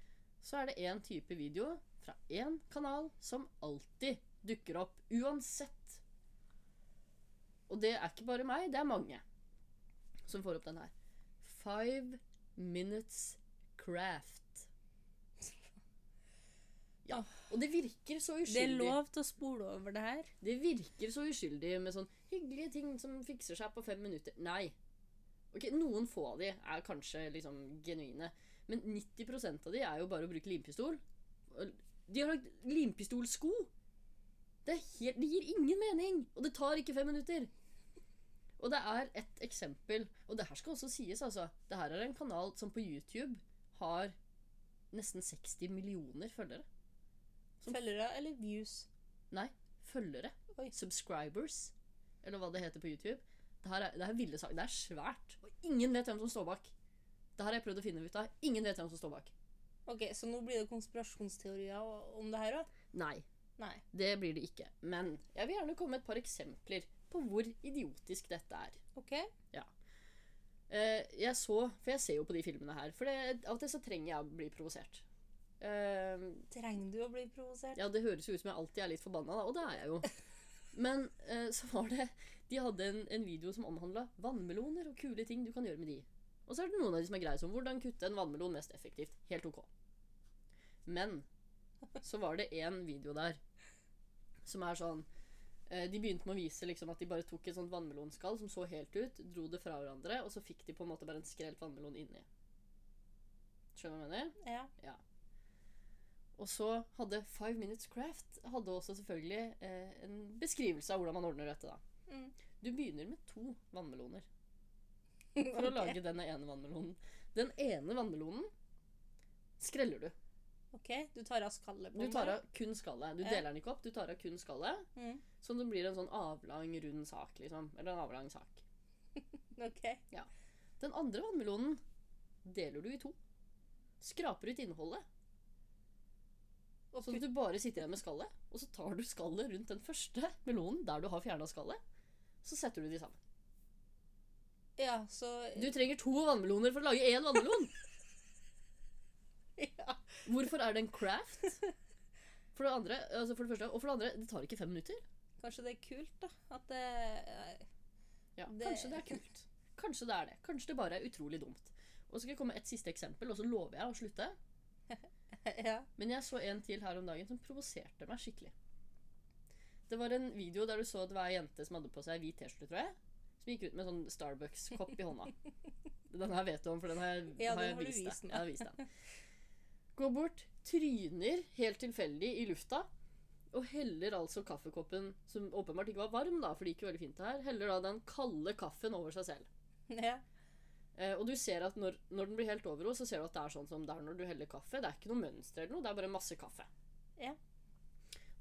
Speaker 1: Så er det én type video fra én kanal som alltid dukker opp. Uansett. Og det er ikke bare meg, det er mange som får opp den her. Five
Speaker 2: [LAUGHS]
Speaker 1: Minutes Craft. Ja. Og det virker så uskyldig.
Speaker 2: Det er lov til å spole over det her.
Speaker 1: Det virker så uskyldig med sånn hyggelige ting som fikser seg på fem minutter. Nei. Ok, Noen få av de er kanskje liksom genuine, men 90 av de er jo bare å bruke limpistol. Og De har lagd limpistolsko! Det, er helt, det gir ingen mening! Og det tar ikke fem minutter. Og det er ett eksempel. Og det her skal også sies, altså. Det her er en kanal som på YouTube har nesten 60 millioner følgere. Som-
Speaker 2: Følgere eller views.
Speaker 1: Nei, følgere.
Speaker 2: Oi.
Speaker 1: Subscribers. Eller hva det heter på YouTube. Det her er, det her er ville saker. Det er svært. Og ingen vet hvem som står bak. Det her har jeg prøvd å finne ut av. Ingen vet hvem som står bak.
Speaker 2: Ok, Så nå blir det konspirasjonsteorier o- om det her òg?
Speaker 1: Nei,
Speaker 2: Nei.
Speaker 1: det blir det ikke. Men jeg vil gjerne komme med et par eksempler på hvor idiotisk dette er.
Speaker 2: OK?
Speaker 1: Eh, jeg så, For jeg ser jo på de filmene her. For det, av og til så trenger jeg å bli provosert. Eh,
Speaker 2: Trenger du å bli provosert?
Speaker 1: Ja, det høres jo ut som jeg alltid er litt forbanna, da, og det er jeg jo. Men eh, så var det De hadde en, en video som omhandla vannmeloner og kule ting du kan gjøre med de. Og så er det noen av de som er greie som hvordan kutte en vannmelon mest effektivt. Helt ok. Men så var det en video der som er sånn eh, De begynte med å vise liksom at de bare tok et sånt vannmelonskall som så helt ut, dro det fra hverandre, og så fikk de på en måte bare en skrelt vannmelon inni. Skjønner du hva jeg mener?
Speaker 2: Ja.
Speaker 1: Og så hadde Five Minutes Craft hadde også selvfølgelig eh, en beskrivelse av hvordan man ordner dette. da.
Speaker 2: Mm.
Speaker 1: Du begynner med to vannmeloner for å lage denne ene vannmelonen. Den ene vannmelonen skreller du.
Speaker 2: OK, du tar av skallet på
Speaker 1: Du
Speaker 2: den
Speaker 1: tar
Speaker 2: der?
Speaker 1: av kun skallet. Du
Speaker 2: Ja.
Speaker 1: deler den ikke opp, du tar av kun skallet.
Speaker 2: Mm.
Speaker 1: Så det blir en sånn avlang, rund sak, liksom. Eller en avlang sak.
Speaker 2: OK.
Speaker 1: Den andre vannmelonen deler du i to. Skraper ut innholdet,
Speaker 2: Og
Speaker 1: sånn at du bare sitter igjen med skallet. Og så tar du skallet rundt den første melonen der du har fjerna skallet. Så setter du de sammen.
Speaker 2: put- Ja, så
Speaker 1: Du trenger to vannmeloner for å lage én [LAUGHS] vannmelon.
Speaker 2: ja.
Speaker 1: Hvorfor er det en craft? For det andre, altså for det første, og for det andre, det tar ikke fem minutter.
Speaker 2: Kanskje det er kult, da? At det eh,
Speaker 1: Ja,
Speaker 2: Det-
Speaker 1: Kanskje det er kult. Kanskje det er det. Kanskje det bare er utrolig dumt. Og så skal jeg komme med et siste eksempel, og så lover jeg å slutte.
Speaker 2: [LAUGHS] Ja.
Speaker 1: Men jeg så en til her om dagen som provoserte meg skikkelig. Det var en video der du så at det var ei jente som hadde på seg hvit T-skjorte, tror jeg. Som gikk ut med en sånn Starbucks-kopp i
Speaker 2: [LAUGHS]
Speaker 1: hånda. Den her vet du om, for den har jeg,
Speaker 2: Ja,
Speaker 1: har
Speaker 2: den
Speaker 1: jeg
Speaker 2: har du
Speaker 1: vist,
Speaker 2: vist
Speaker 1: deg.
Speaker 2: meg.
Speaker 1: Jeg har vist deg. Går bort, tryner helt tilfeldig i lufta, og heller altså kaffekoppen, som åpenbart ikke var varm, da, for det gikk jo veldig fint det her, heller da den kalde kaffen over seg selv.
Speaker 2: ja.
Speaker 1: Eh, og du ser at når, når den blir helt over henne, så ser du at det er sånn som det er når du heller kaffe. Det er ikke noe mønster eller noe, det er bare masse kaffe.
Speaker 2: Ja.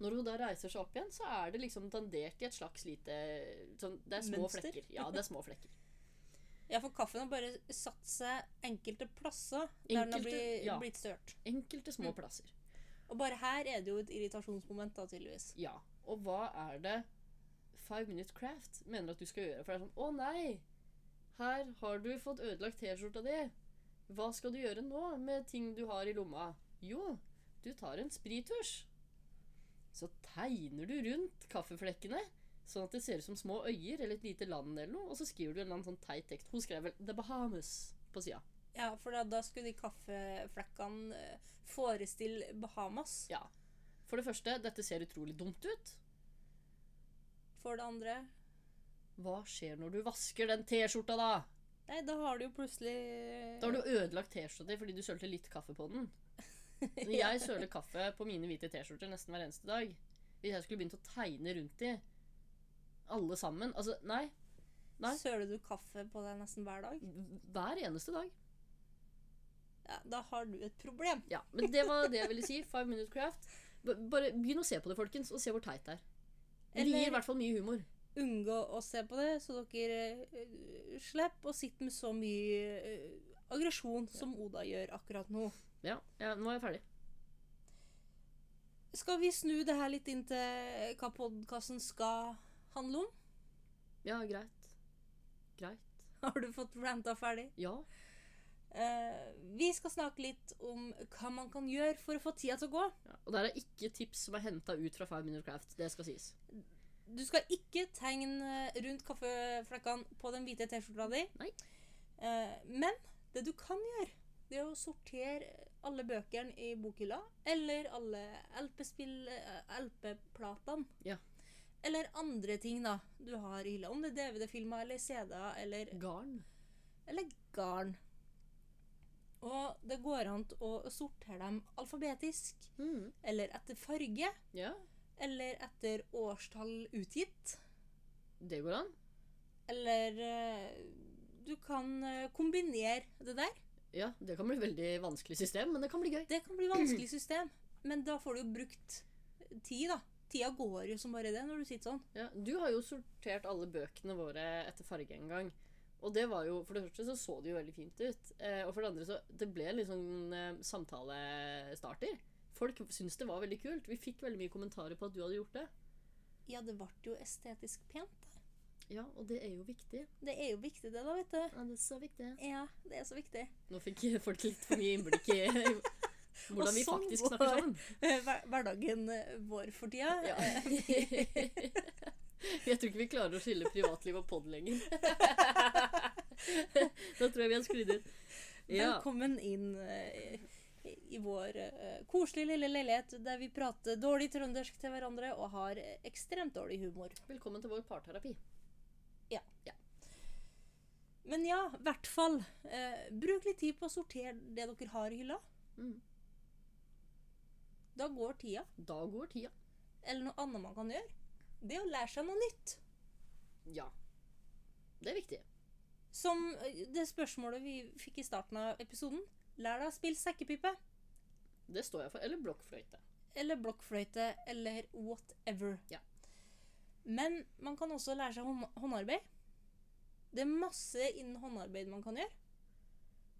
Speaker 1: Når hun da reiser seg opp igjen, så er det liksom dandert i et slags lite sånn, Det er små
Speaker 2: Mønster?
Speaker 1: flekker. Ja, det er små flekker.
Speaker 2: Ja, for kaffen har bare satt seg enkelte plasser der den har
Speaker 1: Enkelte-
Speaker 2: blitt,
Speaker 1: ja.
Speaker 2: blitt størt.
Speaker 1: Enkelte små
Speaker 2: Mm.
Speaker 1: plasser.
Speaker 2: Og bare her er det jo et irritasjonsmoment, da, tydeligvis.
Speaker 1: Ja. Og hva er det Five Minute Craft mener at du skal gjøre? For det er sånn Å nei! Her har du fått ødelagt T-skjorta di. Hva skal du gjøre nå med ting du har i lomma? Jo, du tar en sprittusj. Så tegner du rundt kaffeflekkene, sånn at det ser ut som små øyer eller et lite land eller noe, og så skriver du en eller annen sånn teit tekst. Hun skrev vel The Bahamas på sida.
Speaker 2: Ja, for da, da skulle de kaffeflekkene eh, forestille Bahamas.
Speaker 1: Ja. For det første, dette ser utrolig dumt ut.
Speaker 2: For det andre
Speaker 1: Hva skjer når du vasker den T-skjorta, da?
Speaker 2: Nei, da har du jo plutselig
Speaker 1: Da har du ødelagt T-skjorta di fordi du sølte litt kaffe på [LAUGHS] den. Når jeg søler kaffe på mine hvite T-skjorter nesten hver eneste dag Hvis jeg skulle begynt å tegne rundt de, alle sammen Altså, nei. Nei.
Speaker 2: Søler du kaffe på deg nesten hver dag?
Speaker 1: Hver eneste dag.
Speaker 2: Ja, da har du et problem.
Speaker 1: Ja, [LAUGHS] Men det var det jeg ville si. Five Minute Craft. B bare begynn å se på det, folkens, og se hvor teit det er. Men Det
Speaker 2: Eller-
Speaker 1: gir i hvert fall mye humor.
Speaker 2: Unngå å se på det, så dere eh, slipper å sitte med så mye eh, aggresjon som Oda gjør akkurat nå.
Speaker 1: Ja, ja, nå er jeg ferdig.
Speaker 2: Skal vi snu det her litt inn til eh, hva podkasten skal handle om? [LAUGHS]
Speaker 1: Ja, greit. Greit.
Speaker 2: Har du fått ranta ferdig?
Speaker 1: Ja.
Speaker 2: Eh, vi skal snakke litt om hva man kan gjøre for å få tida til å gå.
Speaker 1: ja. Og der er ikke tips som er henta ut fra Five Minute Craft. Det skal sies.
Speaker 2: Du skal ikke tegne rundt kaffeflekkene på den hvite T-skjorta di.
Speaker 1: Nei.
Speaker 2: Eh, men det du kan gjøre, det er å sortere alle bøkene i bokhylla, eller alle LP-spill, eh, LP-platene.
Speaker 1: Ja.
Speaker 2: Eller andre ting da du har i hylla. Om det er DVD-filmer eller CD-er eller,
Speaker 1: Garn.
Speaker 2: eller garn. Og det går an å sortere dem alfabetisk,
Speaker 1: Mm.
Speaker 2: eller etter farge,
Speaker 1: Ja,
Speaker 2: eller etter årstall utgitt.
Speaker 1: det går an.
Speaker 2: Eller eh, du kan eh, kombinere det der.
Speaker 1: Ja, Det kan bli et veldig vanskelig system, men det kan bli gøy.
Speaker 2: Det kan bli vanskelig [CLEARS THROAT] system, men da får du jo brukt tid, da. Tida går jo som bare det når du sitter sånn.
Speaker 1: Ja, du har jo sortert alle bøkene våre etter farge en gang. Og det var jo, For det første så så det jo veldig fint ut. Eh, og for det andre så det ble litt sånn eh, samtalestarter. Folk syntes det var veldig kult. Vi fikk veldig mye kommentarer på at du hadde gjort det.
Speaker 2: Ja, det ble jo estetisk pent.
Speaker 1: Ja, og det er jo viktig.
Speaker 2: Det er jo viktig, det, da, vet du.
Speaker 1: Ja, det er så viktig.
Speaker 2: Ja, det er så [LAUGHS] viktig.
Speaker 1: Nå fikk folk litt for mye innblikk [LAUGHS] i hvordan vi
Speaker 2: Og sånn
Speaker 1: faktisk
Speaker 2: var-
Speaker 1: snakker sammen.
Speaker 2: Eh, hver- Hverdagen eh, vår for tida.
Speaker 1: Ja.
Speaker 2: [LAUGHS] eh,
Speaker 1: [LAUGHS] Jeg tror ikke vi klarer å skille privatliv og pod [LAUGHS] lenger. Da tror jeg vi har skrudd ut. Ja.
Speaker 2: Velkommen inn eh, i i vår eh, koselige lille leilighet der vi prater dårlig trøndersk til hverandre og har eh, ekstremt dårlig humor.
Speaker 1: Velkommen til vår parterapi.
Speaker 2: Men ja, i hvert fall. Eh, bruk litt tid på å sortere det dere har i hylla.
Speaker 1: Mm.
Speaker 2: Da går tida.
Speaker 1: Da går tida.
Speaker 2: Eller noe annet man kan gjøre. Det er å lære seg noe nytt.
Speaker 1: Ja. Det er viktig.
Speaker 2: Som eh, det spørsmålet vi fikk i starten av episoden. Lær deg å spille sekkepipe.
Speaker 1: Det står jeg for. Eller blokkfløyte.
Speaker 2: Eller blokkfløyte. Eller whatever.
Speaker 1: Ja.
Speaker 2: Men man kan også lære seg hånd håndarbeid. Det er masse innen håndarbeid man kan gjøre.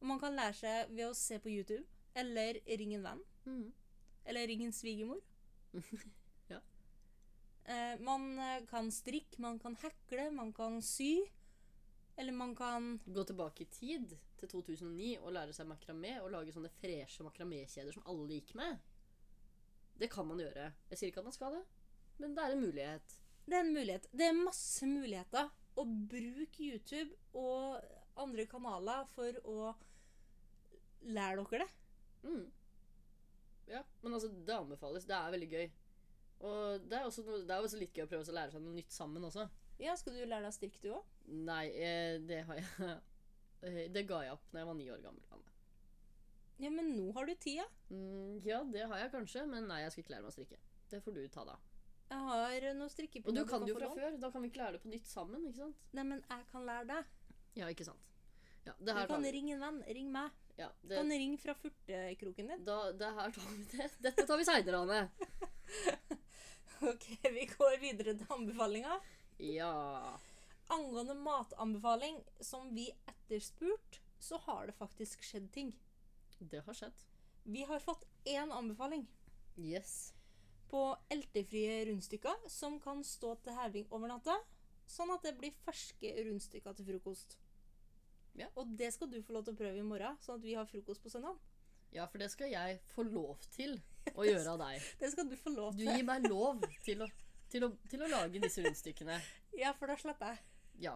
Speaker 2: Og man kan lære seg ved å se på YouTube. Eller ringe en venn.
Speaker 1: Mm.
Speaker 2: Eller ring en svigermor.
Speaker 1: [LAUGHS] Ja.
Speaker 2: Eh, man eh, kan strikke, man kan hekle, man kan sy. Eller man kan
Speaker 1: Gå tilbake i tid, til 2009, og lære seg makramé. Og lage sånne freshe makramékjeder som alle gikk med. Det kan man gjøre. Jeg sier ikke at man skal det, men det er en mulighet.
Speaker 2: Det er en mulighet. Det er masse muligheter. Og bruk YouTube og andre kanaler for å lære dere det.
Speaker 1: Mm. Ja, men altså, det anbefales. Det er veldig gøy. Og det er, også, noe- det er også litt gøy å prøve å lære seg noe nytt sammen også.
Speaker 2: Ja, skal du lære deg å strikke, du òg?
Speaker 1: Nei, eh, det har jeg [LAUGHS] eh, Det ga jeg opp da jeg var ni år gammel. Anne.
Speaker 2: Ja, men nå har du tida.
Speaker 1: Mm, ja, det har jeg kanskje, men nei, jeg skal ikke lære meg å strikke. Det får du ta, da.
Speaker 2: Jeg har eh, noen strikkepinner
Speaker 1: Og du kan det jo
Speaker 2: få
Speaker 1: fra
Speaker 2: lånt.
Speaker 1: før. Da kan vi ikke lære det på nytt sammen, ikke sant?
Speaker 2: Nei, men jeg kan lære deg.
Speaker 1: Ja, ikke sant. Ja, det
Speaker 2: Du
Speaker 1: her tar
Speaker 2: kan
Speaker 1: vi.
Speaker 2: ringe en venn. Ring meg.
Speaker 1: Ja,
Speaker 2: Du
Speaker 1: det,
Speaker 2: kan ringe fra furtekroken din. [LAUGHS]
Speaker 1: da, det her tar vi [LAUGHS] det. Dette tar vi seinere, Anne.
Speaker 2: Ok, vi går videre til anbefalinga.
Speaker 1: Ja.
Speaker 2: Angående matanbefaling som vi etterspurt, så har det faktisk skjedd ting.
Speaker 1: Det har skjedd.
Speaker 2: Vi har fått én anbefaling
Speaker 1: Yes.
Speaker 2: på eltefrie rundstykker som kan stå til heving over natta, sånn at det blir ferske rundstykker til frokost.
Speaker 1: Ja.
Speaker 2: Og det skal du få lov til å prøve i morgen, sånn at vi har frokost på søndag.
Speaker 1: Ja, for det skal jeg få lov
Speaker 2: [LAUGHS]
Speaker 1: til å gjøre av deg.
Speaker 2: Det skal du få lov
Speaker 1: Du
Speaker 2: til.
Speaker 1: gir meg lov til å, til å, til å lage disse rundstykkene.
Speaker 2: Ja, for da slipper jeg.
Speaker 1: Ja.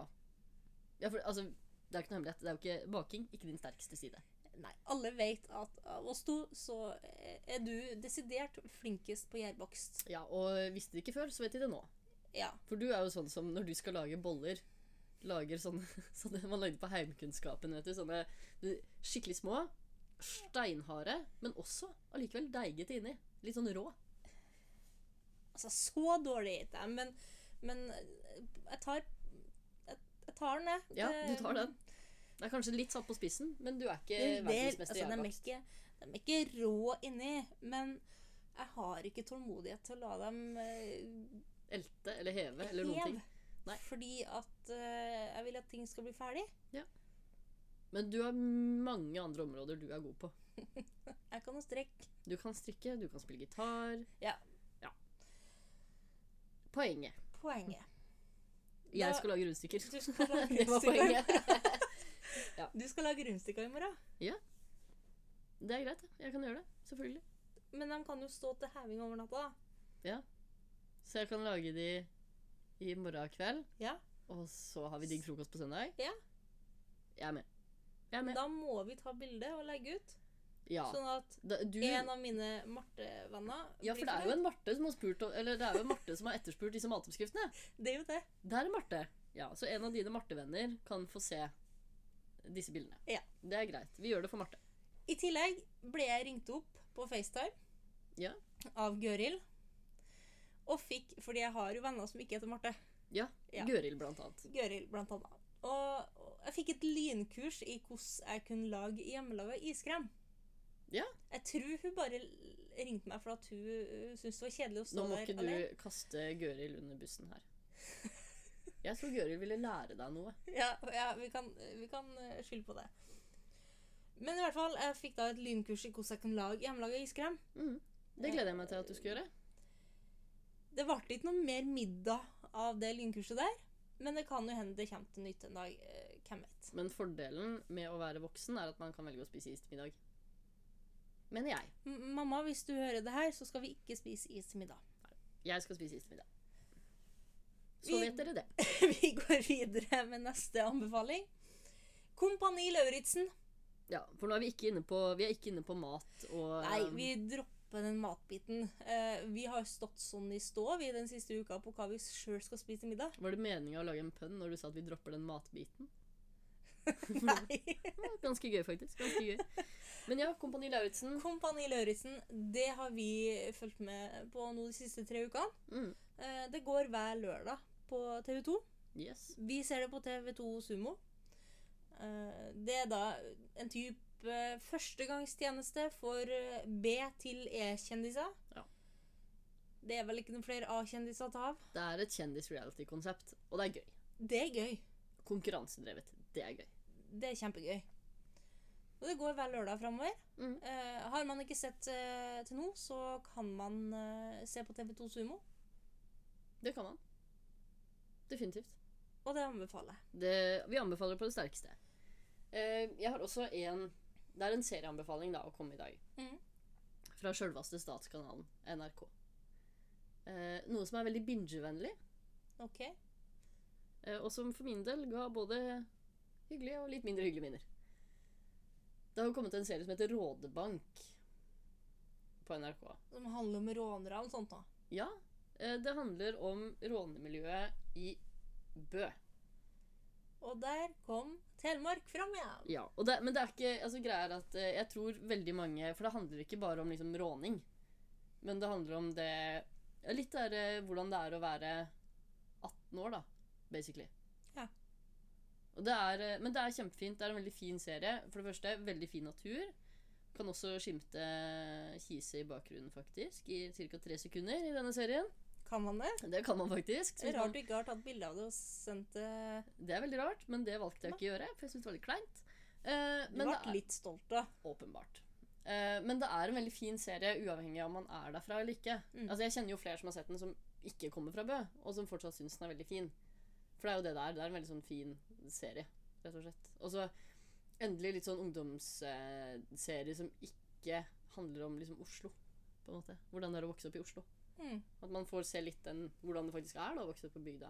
Speaker 1: ja for, altså, det er ikke noe hemmelighet. Det er jo ikke baking. Ikke din sterkeste side.
Speaker 2: Nei, alle vet at av oss to så eh, er du desidert flinkest på gjærbakst.
Speaker 1: Ja, Og visste det ikke før, så vet de det nå.
Speaker 2: Ja.
Speaker 1: For du er jo sånn som når du skal lage boller Lager sånne, [LAUGHS] sånne man lagde på heimkunnskapen, vet du. Sånne de- skikkelig små, steinharde, men også allikevel deigete inni. Litt sånn rå.
Speaker 2: Altså, så dårlig er det ikke, men, men jeg tar jeg, jeg tar den, jeg.
Speaker 1: Ja,
Speaker 2: Det-
Speaker 1: du tar den. Det er kanskje litt satt på spissen, men du er ikke
Speaker 2: Det, det, altså,
Speaker 1: verdensmester i
Speaker 2: de, er
Speaker 1: gjærbakst.
Speaker 2: ikke, de er ikke rå inni, men jeg har ikke tålmodighet til å la dem eh,
Speaker 1: Elte eller heve eller noen ting.
Speaker 2: hev.
Speaker 1: Nei.
Speaker 2: Fordi at eh, jeg vil at ting skal bli ferdig.
Speaker 1: Men du har mange andre områder du er god på.
Speaker 2: Jeg kan ha strekk.
Speaker 1: Du kan strikke, du kan spille gitar.
Speaker 2: Ja.
Speaker 1: ja. Poenget.
Speaker 2: Poenget. Da-
Speaker 1: Jeg skal lage rundstykker.
Speaker 2: [LAUGHS] Du skal lage
Speaker 1: [LAUGHS] Det var
Speaker 2: rundstykker.
Speaker 1: poenget. [LAUGHS]
Speaker 2: Du skal lage rundstykker i morgen.
Speaker 1: Det er greit, jeg kan gjøre det. Selvfølgelig.
Speaker 2: Men de kan jo stå til heving over natta.
Speaker 1: Så jeg kan lage de i morgen kveld.
Speaker 2: Ja.
Speaker 1: Og så har vi digg frokost på søndag.
Speaker 2: Ja.
Speaker 1: Jeg er med. Jeg er
Speaker 2: da.
Speaker 1: med.
Speaker 2: Da må vi ta bilde og legge ut.
Speaker 1: Ja.
Speaker 2: Sånn at
Speaker 1: Da, du,
Speaker 2: en av mine Marte-venner
Speaker 1: Mm. ja, for
Speaker 2: blir
Speaker 1: det er jo en Marte som har spurt om- Eller det er jo en Marte som har etterspurt disse matoppskriftene.
Speaker 2: fornøyd. Det er jo det.
Speaker 1: Der er Marte. Ja, Så en av dine Marte-venner kan få se disse bildene.
Speaker 2: Ja.
Speaker 1: Det er greit. Vi gjør det for Marte.
Speaker 2: I tillegg ble jeg ringt opp på FaceTime
Speaker 1: Ja.
Speaker 2: av Gøril. Og fikk Fordi jeg har jo venner som ikke heter Marte.
Speaker 1: Ja.
Speaker 2: Ja.
Speaker 1: Gøril, blant annet.
Speaker 2: Gøril, blant annet. Og, og jeg fikk et lynkurs i hvordan jeg kunne lage hjemmelaga iskrem.
Speaker 1: Ja.
Speaker 2: Jeg tror hun bare l- ringte meg for at hun øh, syntes det var kjedelig å
Speaker 1: Nå
Speaker 2: stå
Speaker 1: må
Speaker 2: der
Speaker 1: ikke du
Speaker 2: alene.
Speaker 1: kaste Gøril under bussen her. Jeg tror Gøril ville lære deg noe.
Speaker 2: Ja, ja vi, kan, vi kan øh, skylde på det. Men i hvert fall, jeg fikk da et lynkurs i hvordan jeg kunne lage hjemmelaga iskrem.
Speaker 1: Mhm. Det gleder jeg meg til at du skal gjøre.
Speaker 2: Det ble ikke noe mer middag av det lynkurset der, men det kan jo hende det kommer til nytte en dag. eh, Hvem vet.
Speaker 1: Men fordelen med å være voksen er at man kan velge å spise is til middag. Mener jeg.
Speaker 2: M mamma, hvis du hører det her, så skal vi ikke spise is til middag. [LAUGHS]
Speaker 1: Jeg skal spise is til middag. Så
Speaker 2: Vi-
Speaker 1: vet dere det.
Speaker 2: vi går videre med neste anbefaling. Kompani Lauritzen.
Speaker 1: Ja, For nå er vi ikke inne på, vi er ikke inne på mat og
Speaker 2: Nei,
Speaker 1: um,
Speaker 2: vi dropper den matbiten. Eh, vi har stått sånn i stå vi den siste uka på hva vi sjøl skal spise til middag.
Speaker 1: Var det meninga å lage en pønn når du sa at vi dropper den matbiten?
Speaker 2: Nei.
Speaker 1: Ja, Ganske gøy, faktisk. Ganske gøy. Men ja, Kompani Lauritzen.
Speaker 2: Kompani Lauritzen, det har vi fulgt med på nå de siste tre ukene.
Speaker 1: Mm.
Speaker 2: Eh, det går hver lørdag på TV2.
Speaker 1: Yes.
Speaker 2: Vi ser det på TV2 Sumo. Eh, Det er da en type eh, førstegangstjeneste for eh, B- til E-kjendiser.
Speaker 1: Ja.
Speaker 2: Det er vel ikke noen flere A-kjendiser å ta av.
Speaker 1: Det er et kjendis-reality-konsept, og det er gøy.
Speaker 2: Det er gøy.
Speaker 1: Konkurransedrevet. Det er gøy.
Speaker 2: Det er kjempegøy. Og det går hver lørdag framover.
Speaker 1: Mm.
Speaker 2: har man ikke sett eh, til nå, så kan man eh, se på TV2 Sumo,
Speaker 1: Det kan man. Definitivt.
Speaker 2: og det anbefaler jeg.
Speaker 1: Det, vi anbefaler på det sterkeste. Eh, jeg har også en Det er en serieanbefaling da å komme i dag.
Speaker 2: Mhm.
Speaker 1: Fra sjølveste statskanalen NRK. Eh, noe som er veldig bingevennlig,
Speaker 2: Ok?
Speaker 1: eh, og som for min del ga både hyggelige og litt mindre hyggelige minner. Det har jo kommet en serie som heter Rådebank på NRK.
Speaker 2: Som handler om rånere og sånt. da.
Speaker 1: Ja, eh, det handler om rånemiljøet i Bø.
Speaker 2: Og der kom Telemark fram igjen.
Speaker 1: Ja, og det, men det er ikke altså, greier at eh, jeg tror veldig mange For det handler ikke bare om liksom, råning. Men det handler om det ja, Litt der, eh, hvordan det er å være 18 år, da. Basically.
Speaker 2: Ja.
Speaker 1: Og det er, eh, men det er kjempefint. Det er en veldig fin serie. For det første, veldig fin natur. Kan også skimte eh, Kise i bakgrunnen, faktisk. I ca. tre sekunder i denne serien.
Speaker 2: Kan man det?
Speaker 1: Det kan man faktisk. så
Speaker 2: Det er
Speaker 1: hvis man-
Speaker 2: rart du ikke har tatt bilde av det og sendt det.
Speaker 1: det er veldig rart, men det valgte jeg ikke å gjøre. For jeg synes det var litt kleint. Eh,
Speaker 2: Du
Speaker 1: men det
Speaker 2: ble
Speaker 1: er-
Speaker 2: litt stolt, da.
Speaker 1: Åpenbart. Eh, men det er en veldig fin serie, uavhengig av om man er derfra eller ikke.
Speaker 2: Mm.
Speaker 1: Altså, jeg kjenner jo flere som har sett den, som ikke kommer fra Bø, og som fortsatt syns den er veldig fin. For det er jo det det er. Det er en veldig sånn fin serie, rett og slett. Og så endelig litt sånn ungdomsserie som ikke handler om liksom Oslo, på en måte. Hvordan det er å vokse opp i Oslo.
Speaker 2: Mm.
Speaker 1: At man får se litt den, hvordan det faktisk er da, å vokse opp på bygda.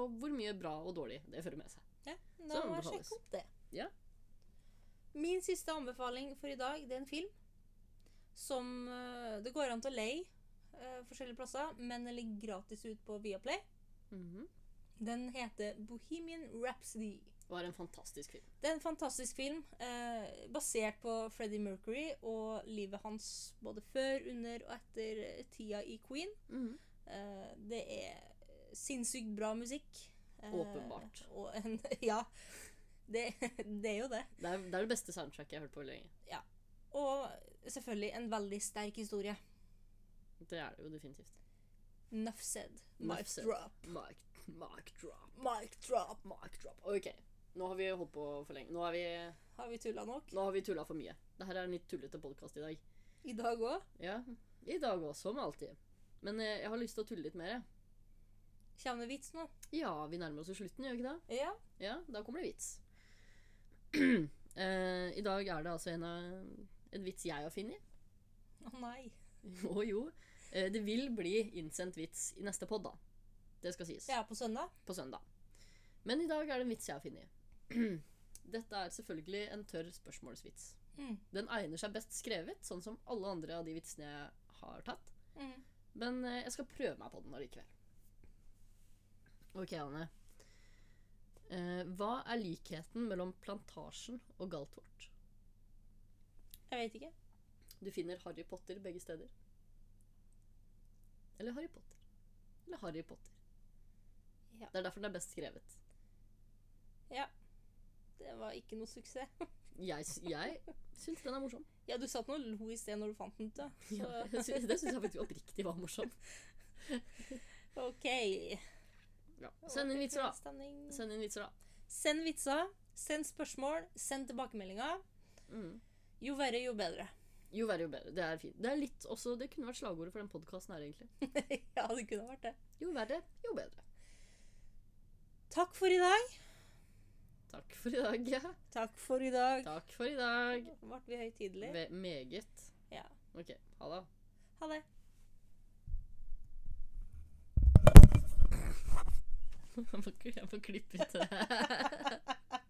Speaker 1: Og hvor mye bra og dårlig det fører med seg.
Speaker 2: Ja, da må jeg
Speaker 1: anbefales.
Speaker 2: sjekke opp det.
Speaker 1: Ja.
Speaker 2: Min siste anbefaling for i dag, det er en film som eh, det går an til å leie eh, forskjellige plasser, men den ligger gratis ut på Viaplay.
Speaker 1: Mhm.
Speaker 2: Den heter Bohemian Rhapsody.
Speaker 1: Det var en fantastisk film.
Speaker 2: Det er en fantastisk film eh, basert på Freddie Mercury og livet hans både før, under og etter eh, tida i Queen. Eh, det er sinnssykt bra musikk. Eh,
Speaker 1: Åpenbart.
Speaker 2: Og en, [LAUGHS] ja. Det, det er jo det.
Speaker 1: Det, er, det er det beste soundtracket jeg har hørt på lenge.
Speaker 2: Og selvfølgelig en veldig sterk historie.
Speaker 1: Det er det jo definitivt.
Speaker 2: Nuff said.
Speaker 1: Nuff
Speaker 2: Mic
Speaker 1: said.
Speaker 2: drop.
Speaker 1: Mark, mark drop,
Speaker 2: Mic drop.
Speaker 1: mark drop. Ok, nå har vi holdt på for lenge. Nå har vi,
Speaker 2: Har vi tulla nok?
Speaker 1: nå har vi tulla for mye. Dette er en litt tullete podkast i dag.
Speaker 2: I dag òg.
Speaker 1: Ja, I dag òg, som alltid. Men eh, jeg har lyst til å tulle litt mer. jeg.
Speaker 2: Kommer det vits nå?
Speaker 1: Ja, vi nærmer oss jo slutten, gjør vi ikke det?
Speaker 2: Ja.
Speaker 1: Ja, da kommer det [CLEARS THROAT] vits. eh, I dag er det altså en, av- en vits jeg har funnet. [LAUGHS]
Speaker 2: Å nei.
Speaker 1: Å jo. Eh, det vil bli innsendt vits i neste pod, da. Det skal sies.
Speaker 2: Det er på søndag.
Speaker 1: på søndag. [CLEARS THROAT] Men i dag er det en vits jeg har funnet. Dette er selvfølgelig en tørr spørsmålsvits.
Speaker 2: Mm.
Speaker 1: Den egner seg best skrevet, sånn som alle andre av de vitsene jeg har tatt.
Speaker 2: Mm.
Speaker 1: Men eh, jeg skal prøve meg på den allikevel. Ok, Anne. Eh, hva er likheten mellom plantasjen og Galtvort?
Speaker 2: Jeg vet ikke.
Speaker 1: Du finner Harry Potter begge steder. Eller Harry Potter. Eller Harry Potter.
Speaker 2: Ja.
Speaker 1: Det er derfor den er best skrevet.
Speaker 2: Det var ikke noe suksess.
Speaker 1: Jeg, sy- jeg syns den er morsom.
Speaker 2: Ja, du satt nå og lo i sted når du fant den. Da. Så,
Speaker 1: Ja, [LAUGHS] jeg sy- det syns jeg faktisk oppriktig var morsom.
Speaker 2: OK.
Speaker 1: Send inn vitser, da.
Speaker 2: Stemning.
Speaker 1: Send inn vitser, da.
Speaker 2: Send vitser. Send spørsmål. Send tilbakemeldinger.
Speaker 1: Mm.
Speaker 2: Jo verre, jo bedre.
Speaker 1: Jo verre, jo bedre. Det er fint. Det er litt også, det kunne vært slagordet for den podkasten her, egentlig.
Speaker 2: [LAUGHS] ja, det kunne ha vært det.
Speaker 1: Jo verre, jo bedre.
Speaker 2: Takk for i dag.
Speaker 1: Takk for i dag. [LAUGHS] Ja.
Speaker 2: Takk for i dag.
Speaker 1: Takk for i dag.
Speaker 2: Ble vi høytidelige?
Speaker 1: Ve meget.
Speaker 2: Ja.
Speaker 1: OK. Ha det. [LAUGHS]
Speaker 2: Ha det.
Speaker 1: Jeg får- Jeg får klippe ut det.